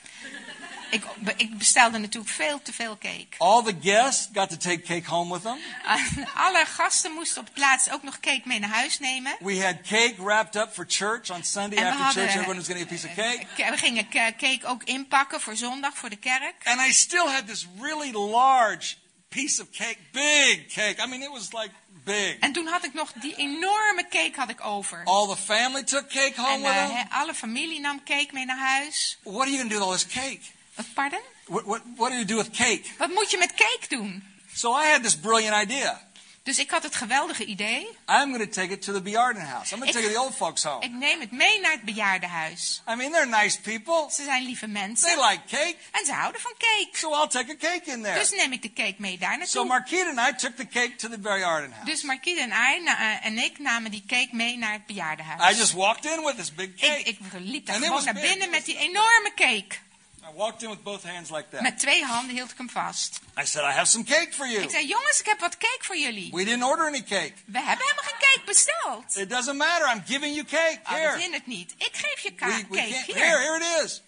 S2: Ik, be- ik bestelde natuurlijk veel te veel cake.
S1: All the guests got to take cake home with them.
S2: Alle gasten moesten op het laatst ook nog cake mee naar huis nemen.
S1: We had cake wrapped up for church on Sunday
S2: En we
S1: after church.
S2: hadden-
S1: Everyone was going to get a piece of cake.
S2: Eh, Ke- We gingen ke- cake ook inpakken voor zondag, voor de kerk.
S1: And I still had this really large piece of cake, big cake. I mean, it was like big.
S2: En toen had ik nog die enorme cake had ik over.
S1: All the family took cake
S2: En
S1: home with
S2: eh,
S1: them.
S2: he- alle familie nam cake mee naar huis.
S1: What are you going to do with all this cake?
S2: Wat, Pardon?
S1: What, what, what do you do with cake?
S2: Wat moet je met cake doen?
S1: So I had this brilliant idea.
S2: Dus ik had het geweldige idee.
S1: I'm going to take it to the Bearden house. I'm going
S2: Ik-
S1: to take it to the old folks' home.
S2: Ik neem het mee naar het bejaardenhuis.
S1: I mean, they're nice people.
S2: Ze zijn lieve
S1: They
S2: mensen
S1: like cake,
S2: en ze houden van cake.
S1: so I'll take a cake in there.
S2: Dus neem ik de cake mee daar
S1: So
S2: naartoe.
S1: Marquita and I took the cake to the Bearden house.
S2: Dus Marquise en, I, na- eh, en ik namen die cake mee naar het
S1: I
S2: bejaardenhuis.
S1: just walked in with this big
S2: Ik,
S1: cake.
S2: ik liep daar
S1: And it
S2: gewoon
S1: was
S2: naar
S1: big.
S2: binnen met die enorme cake.
S1: I walked in with both hands like that.
S2: Met twee handen hield ik hem vast.
S1: I said, I have some cake for you.
S2: Ik zei, jongens, ik heb wat cake voor jullie.
S1: We didn't order any cake.
S2: We hebben helemaal geen cake besteld.
S1: It doesn't matter. I'm giving you cake.
S2: Oh,
S1: Here.
S2: dat hindert niet. Ik geef je ka-
S1: We, we
S2: cake
S1: can't,
S2: hier.
S1: here, here it is.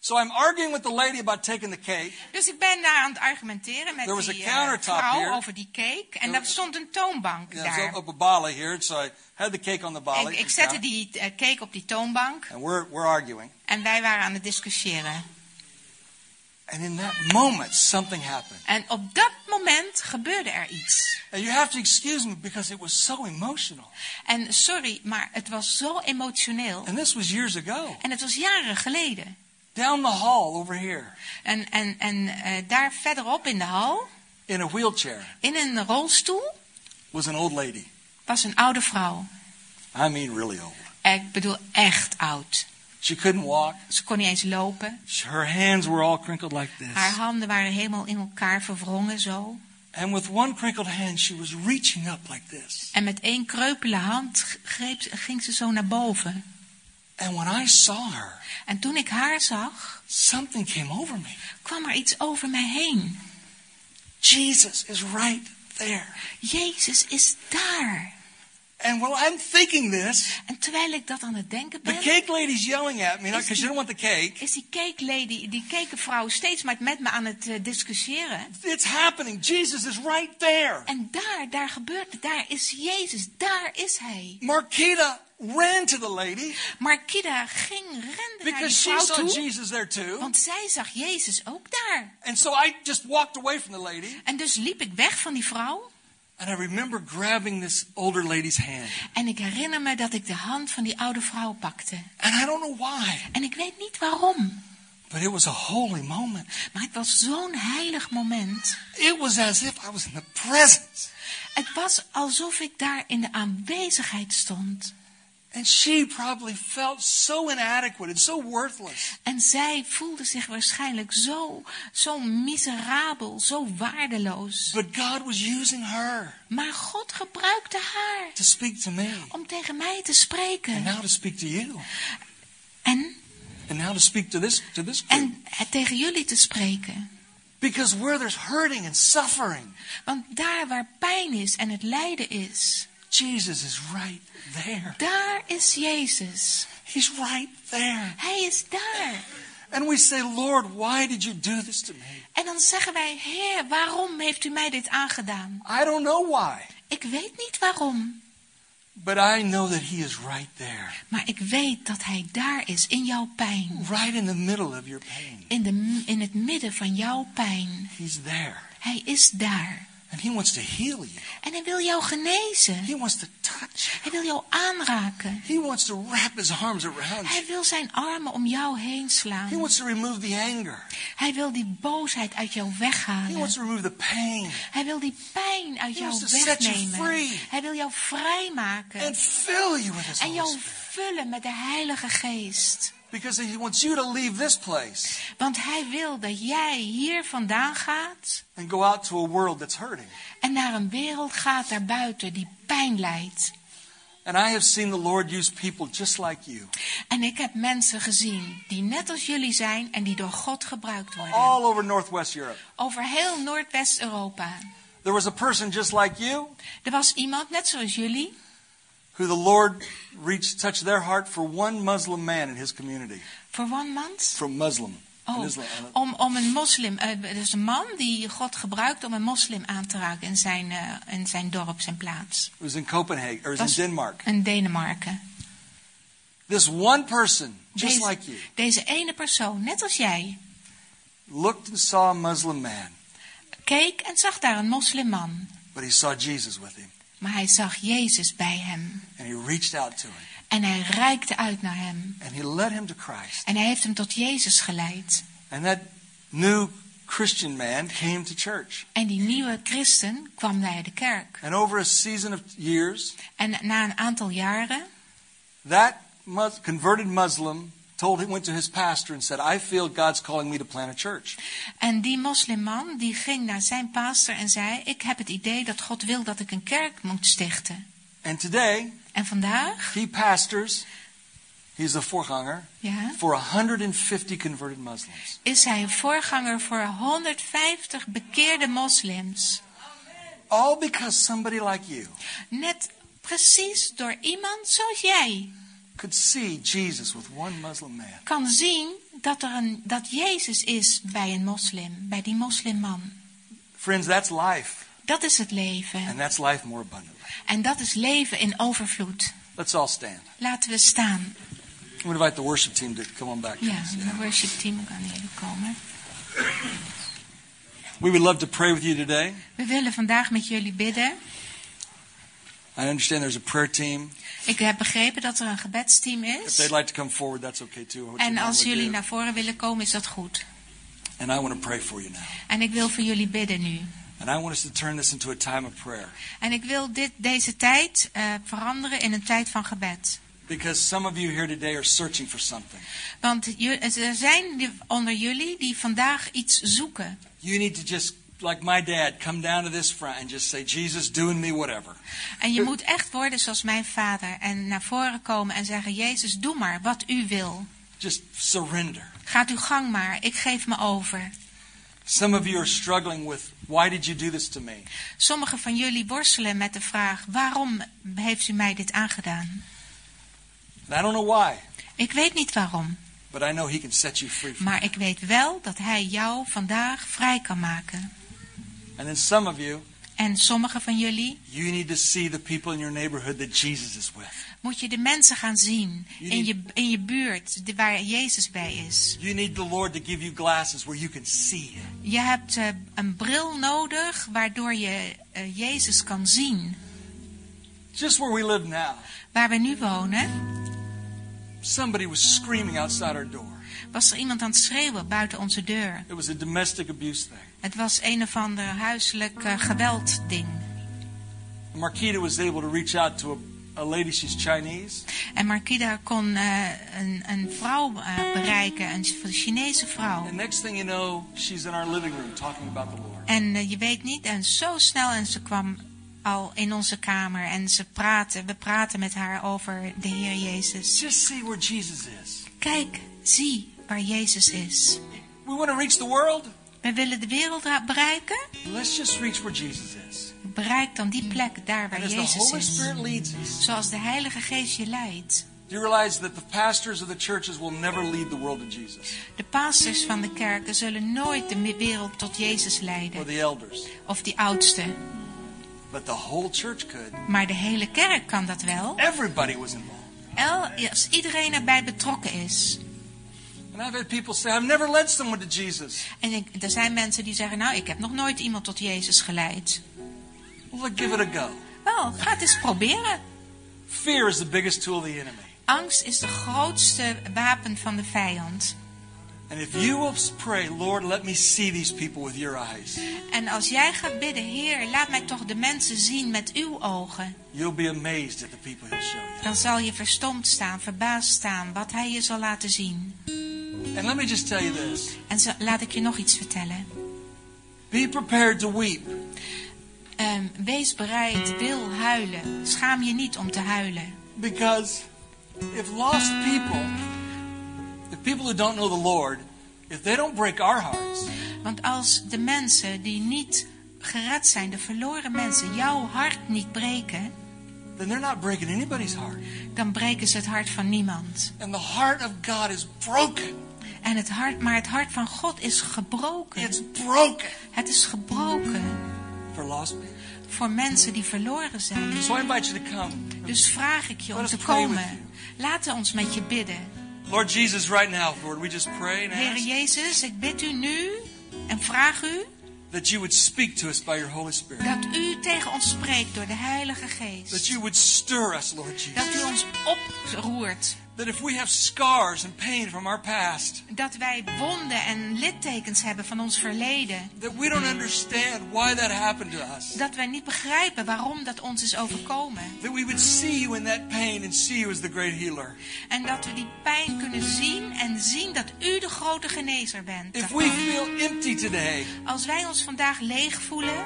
S1: So I'm arguing with the lady about taking the cake.
S2: Dus ik ben daar aan het argumenteren met
S1: There was a
S2: die eh,
S1: countertop
S2: vrouw
S1: here.
S2: over die cake. En daar stond een toonbank
S1: Yeah,
S2: daar.
S1: it was up, up a bali here, so I had the cake on the
S2: Ik,
S1: bali.
S2: ik zette die eh, cake op die toonbank.
S1: And we're, we're arguing.
S2: En wij waren aan het discussiëren.
S1: And in that moment, something happened.
S2: En op dat moment gebeurde er iets.
S1: And you have to excuse me because it was so emotional.
S2: En sorry, maar het was zo emotioneel.
S1: And this was years ago.
S2: En het was jaren geleden.
S1: Down the hall over here,
S2: En, en, en eh, daar verderop in de hal,
S1: in a wheelchair,
S2: in een rolstoel,
S1: was an old lady.
S2: was een oude vrouw.
S1: I mean, really old.
S2: Ik bedoel, echt oud.
S1: She couldn't walk.
S2: Ze kon niet eens lopen.
S1: Her hands were all crinkled like this.
S2: Haar handen waren helemaal in elkaar verwrongen zo.
S1: And with one crinkled hand, she was reaching up like this.
S2: En met één kreupele hand g- greep, ze- ging ze zo naar boven.
S1: And when I saw her,
S2: En toen ik haar zag,
S1: something came over me.
S2: kwam er iets over mij heen.
S1: Jesus is right there.
S2: Jezus is daar.
S1: And while I'm thinking this,
S2: En terwijl ik dat aan het denken
S1: the
S2: ben,
S1: cake lady's yelling at me because she didn't want the cake.
S2: is die cake lady, die cakenvrouw steeds maar met me aan het eh, discussiëren.
S1: It's happening. Jesus is right there.
S2: En daar, daar gebeurt het. Daar is Jezus. Daar is hij.
S1: Marquita ran to the lady
S2: Maar Kida ging rende naar die
S1: because she
S2: vrouw
S1: saw
S2: toe.
S1: Jesus there too.
S2: Want zij zag Jezus ook daar.
S1: And so I just walked away from the lady.
S2: En dus liep ik weg van die vrouw.
S1: And I remember grabbing this older lady's hand.
S2: En ik herinner me dat ik de hand van die oude vrouw pakte.
S1: And I don't know why,
S2: En ik weet niet waarom.
S1: but it was a holy moment.
S2: Maar het was zo'n heilig moment.
S1: It was as if I was in the presence.
S2: Het was alsof ik daar in de aanwezigheid stond.
S1: And she probably felt so inadequate and so worthless.
S2: En zij voelde zich waarschijnlijk zo, zo miserabel, zo waardeloos.
S1: But God was using her
S2: Maar God gebruikte haar
S1: to speak to me.
S2: om tegen mij te
S1: And
S2: spreken.
S1: now to speak to you.
S2: En,
S1: And now to speak to this to this group.
S2: en het tegen jullie te spreken.
S1: Because where there's hurting and suffering,
S2: Want daar waar pijn is en het lijden is,
S1: Jesus is right there.
S2: daar is Jezus.
S1: He's right there.
S2: Hij is daar.
S1: And we say, Lord, why did you do this to me?
S2: En dan zeggen wij, Heer, waarom heeft u mij dit aangedaan?
S1: I don't know why,
S2: Ik weet niet waarom,
S1: but I know that He is right there,
S2: maar ik weet dat Hij daar is in jouw pijn.
S1: right in the middle of your pain.
S2: In, de, in het midden van jouw pijn.
S1: He's there.
S2: Hij is daar.
S1: And He wants to heal you.
S2: En Hij wil jou genezen.
S1: He wants to touch you.
S2: Hij wil jou aanraken.
S1: He wants to wrap his arms around you.
S2: Hij wil zijn armen om jou heen
S1: He
S2: slaan.
S1: wants to remove the anger.
S2: Hij wil die boosheid uit jou
S1: He
S2: weghalen.
S1: wants to remove the pain
S2: Hij wil die pijn uit
S1: He
S2: jou
S1: wants to set you
S2: wegnemen.
S1: free.
S2: Hij wil jou vrijmaken.
S1: and fill you with his
S2: En
S1: Holy
S2: jou
S1: Spirit.
S2: vullen met de Heilige Geest.
S1: Because he wants you to leave this place
S2: Want hij wil dat jij hier vandaan gaat
S1: and go out to a world that's hurting.
S2: en naar een wereld gaat daarbuiten die pijn leidt.
S1: And I have seen the Lord use people just like you,
S2: En ik heb mensen gezien die net als jullie zijn en die door God gebruikt worden.
S1: all over Northwest Europe.
S2: Over heel Noordwest-Europa.
S1: There was a person just like you
S2: Er was iemand, net zoals jullie,
S1: who the Lord reached, touched their heart for one Muslim man in his community.
S2: voor one month.
S1: From Muslim. An
S2: Oh,
S1: Islam-
S2: om, om een moslim, eh, dus een man die God gebruikt om een moslim aan te raken in zijn, eh, in zijn dorp, zijn plaats.
S1: It was in Copenhagen, or it was
S2: Was-
S1: in Denmark.
S2: In Denemarken.
S1: This one person, just
S2: Deze-
S1: like you,
S2: Deze ene persoon, net als jij,
S1: looked and saw a Muslim man,
S2: keek en zag daar een moslimman.
S1: but he saw Jesus with him.
S2: Maar hij zag Jezus bij hem.
S1: And he reached out to him.
S2: En hij reikte uit naar hem.
S1: and he led him to Christ.
S2: En hij heeft hem tot Jezus geleid.
S1: And that new Christian man came to church.
S2: En die nieuwe christen kwam naar de kerk.
S1: And over a season of years,
S2: En na een aantal jaren
S1: that mus- converted Muslim told him, went to his pastor and said, I feel God's calling me to plant a church.
S2: En die moslimman die ging naar zijn pastor en zei: Ik heb het idee dat God wil dat ik een kerk moet stichten.
S1: And today,
S2: En vandaag,
S1: he pastors, he's a voorganger,
S2: ja,
S1: for 150 converted Muslims.
S2: is hij een voorganger voor 150 bekeerde moslims.
S1: All because somebody like you
S2: Net precies door iemand zoals jij
S1: could see Jesus with one Muslim man.
S2: kan zien dat, er een, dat Jezus is bij een moslim, bij die moslimman.
S1: Friends, that's life,
S2: Dat is het leven.
S1: and that's life more abundantly.
S2: En dat is leven in overvloed.
S1: Let's all stand.
S2: Laten we staan.
S1: I'm going to invite the worship team to come on back.
S2: Ja,
S1: please.
S2: de worship team kan hier komen.
S1: We would love to pray with you today.
S2: We willen vandaag met jullie bidden.
S1: I understand there's a prayer team.
S2: Ik heb begrepen dat er een gebedsteam
S1: If
S2: is.
S1: they'd like to come forward, that's okay too. What you
S2: En als
S1: normally
S2: jullie
S1: do.
S2: naar voren willen komen, is dat goed.
S1: And I want to pray for you now.
S2: En ik wil voor jullie bidden nu.
S1: And I want us to turn this into a time of prayer.
S2: En ik wil dit, deze tijd eh, veranderen in een tijd van gebed.
S1: Because some of you here today are searching for something.
S2: Want ju- er zijn die- onder jullie die vandaag iets zoeken.
S1: You need to just, like my dad, come down to this front and just say, Jesus, do in me whatever.
S2: En je moet echt worden zoals mijn vader. En naar voren komen en zeggen, Jezus, doe maar wat u wil.
S1: Just surrender.
S2: Gaat uw gang maar, ik geef me over.
S1: Some of you are struggling with, why did you do this to me?
S2: Sommigen van jullie worstelen met de vraag, waarom heeft u mij dit aangedaan?
S1: And I don't know why,
S2: Ik weet niet waarom.
S1: but I know He can set you free. From
S2: Maar ik weet wel dat hij jou vandaag vrij kan maken.
S1: it. And then some of you,
S2: En sommigen van jullie
S1: you need to see the people in your neighborhood that Jesus is with.
S2: moet je de mensen gaan zien in je, in je buurt de- waar Jezus bij is.
S1: You need the Lord to give you glasses where you can see Him.
S2: Je hebt eh, een bril nodig waardoor je eh, Jezus kan zien.
S1: Just where we live now,
S2: Waar we nu wonen
S1: somebody was screaming outside our door.
S2: was er iemand aan het schreeuwen buiten onze deur.
S1: It was a domestic abuse thing.
S2: Het was een of ander huiselijk eh, geweldding.
S1: Marquita was able to reach out to a, a lady, she's Chinese,
S2: En Markida kon eh, een, een vrouw eh, bereiken, een Chinese vrouw.
S1: and next thing you know, she's in our living room talking about the Lord.
S2: En eh, je weet niet, en zo snel, en ze kwam al in onze kamer en ze praten, we praten met haar over de Heer Jezus.
S1: Just see where Jesus is.
S2: Kijk, zie waar Jezus is.
S1: We want to reach the world?
S2: We willen de wereld ra- bereiken.
S1: Let's just reach where Jesus is.
S2: Bereik dan die plek daar
S1: And
S2: waar
S1: as the
S2: Jezus
S1: Holy
S2: is.
S1: Spirit leads us,
S2: Zoals de Heilige Geest je leidt.
S1: do you realize that the pastors of the churches will never lead the world to Jesus?
S2: De pastors van de kerken zullen nooit de me- wereld tot Jezus
S1: Or
S2: leiden.
S1: the elders?
S2: Of die oudste.
S1: But the whole church could.
S2: Maar de hele kerk kan dat wel.
S1: Everybody was involved.
S2: El- Als iedereen erbij betrokken is.
S1: And I've had people say, I've never led someone to Jesus.
S2: En ik, er zijn mensen die zeggen, nou, ik heb nog nooit iemand tot Jezus geleid.
S1: Well, look, give it a go.
S2: Wel, ga het eens proberen.
S1: Fear is the biggest tool of the enemy.
S2: Angst is de grootste wapen van de vijand.
S1: And if you will pray, Lord, let me see these people with your eyes,
S2: En als jij gaat bidden, Heer, laat mij toch de mensen zien met uw ogen.
S1: you'll be amazed at the people he'll show you.
S2: Dan zal je verstomd staan, verbaasd staan, wat hij je zal laten zien.
S1: And let me just tell you this
S2: En zo, laat ik je nog iets vertellen.
S1: be prepared to weep.
S2: Ehm, wees bereid, wil huilen. Schaam je niet om te huilen.
S1: Because if lost people, if people who don't know the Lord, if they don't break our hearts,
S2: Want als de mensen die niet gered zijn, de verloren mensen, jouw hart niet breken...
S1: then they're not breaking anybody's heart.
S2: dan breken ze het hart van niemand.
S1: And the heart of God is broken.
S2: En het hart, maar het hart van God is gebroken.
S1: It's broken
S2: Het is gebroken
S1: for lost people.
S2: voor mensen die verloren zijn.
S1: So I invite you to come.
S2: Dus vraag ik je om
S1: Let
S2: te
S1: us pray with
S2: komen. Laten ons met je bidden.
S1: Lord Jesus, right now, Lord, we just pray and
S2: Heere
S1: ask
S2: Jezus, ik bid u nu en vraag u
S1: that you would speak to us by your Holy Spirit.
S2: dat u tegen ons spreekt door de Heilige
S1: That
S2: Geest.
S1: you would stir us, Lord
S2: Dat u
S1: Jesus.
S2: ons oproert.
S1: that if we have scars and pain from our past,
S2: Dat wij wonden en littekens hebben van ons verleden.
S1: that we don't understand why that happened to us,
S2: Dat wij niet begrijpen waarom dat ons is overkomen.
S1: that we would see you in that pain and see you as the great healer.
S2: En dat we die pijn kunnen zien en zien dat u de grote genezer bent.
S1: If we feel empty today,
S2: Als wij ons vandaag leeg voelen,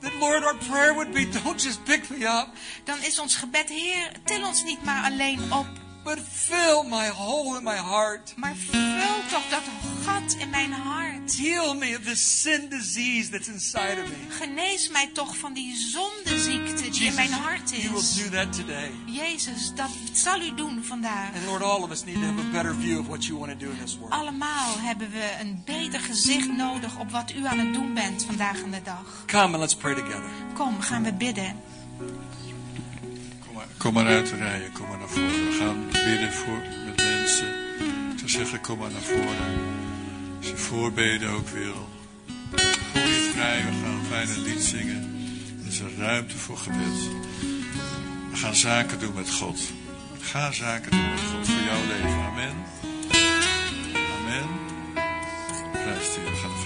S1: that Lord, our prayer would be, don't just pick me up,
S2: dan is ons gebed, Heer, til ons niet maar alleen op.
S1: but fill my hole in my heart.
S2: Maar vul toch dat gat in mijn hart.
S1: Heal me of this sin disease that's inside of me.
S2: Genees mij toch van die zondeziekte die in
S1: Jesus,
S2: mijn hart
S1: you will
S2: is.
S1: do that today.
S2: Jezus, dat zal u doen vandaag.
S1: And Lord, all of us need to have a better view of what you want to do in this world.
S2: Allemaal hebben we een beter gezicht nodig op wat u aan het doen bent vandaag aan de dag.
S1: Come and let's pray together.
S2: Kom, gaan we bidden.
S3: Kom maar, kom maar uit de rijen, kom maar naar voren. We gaan bidden voor, met mensen. Te zeggen, kom maar naar voren. Als je voorbeden ook wil. Voel je vrij, we gaan een fijne lied zingen. Er is een ruimte voor gebed. We gaan zaken doen met God. Ga zaken doen met God voor jouw leven. Amen. Amen. Prijs die, we gaan een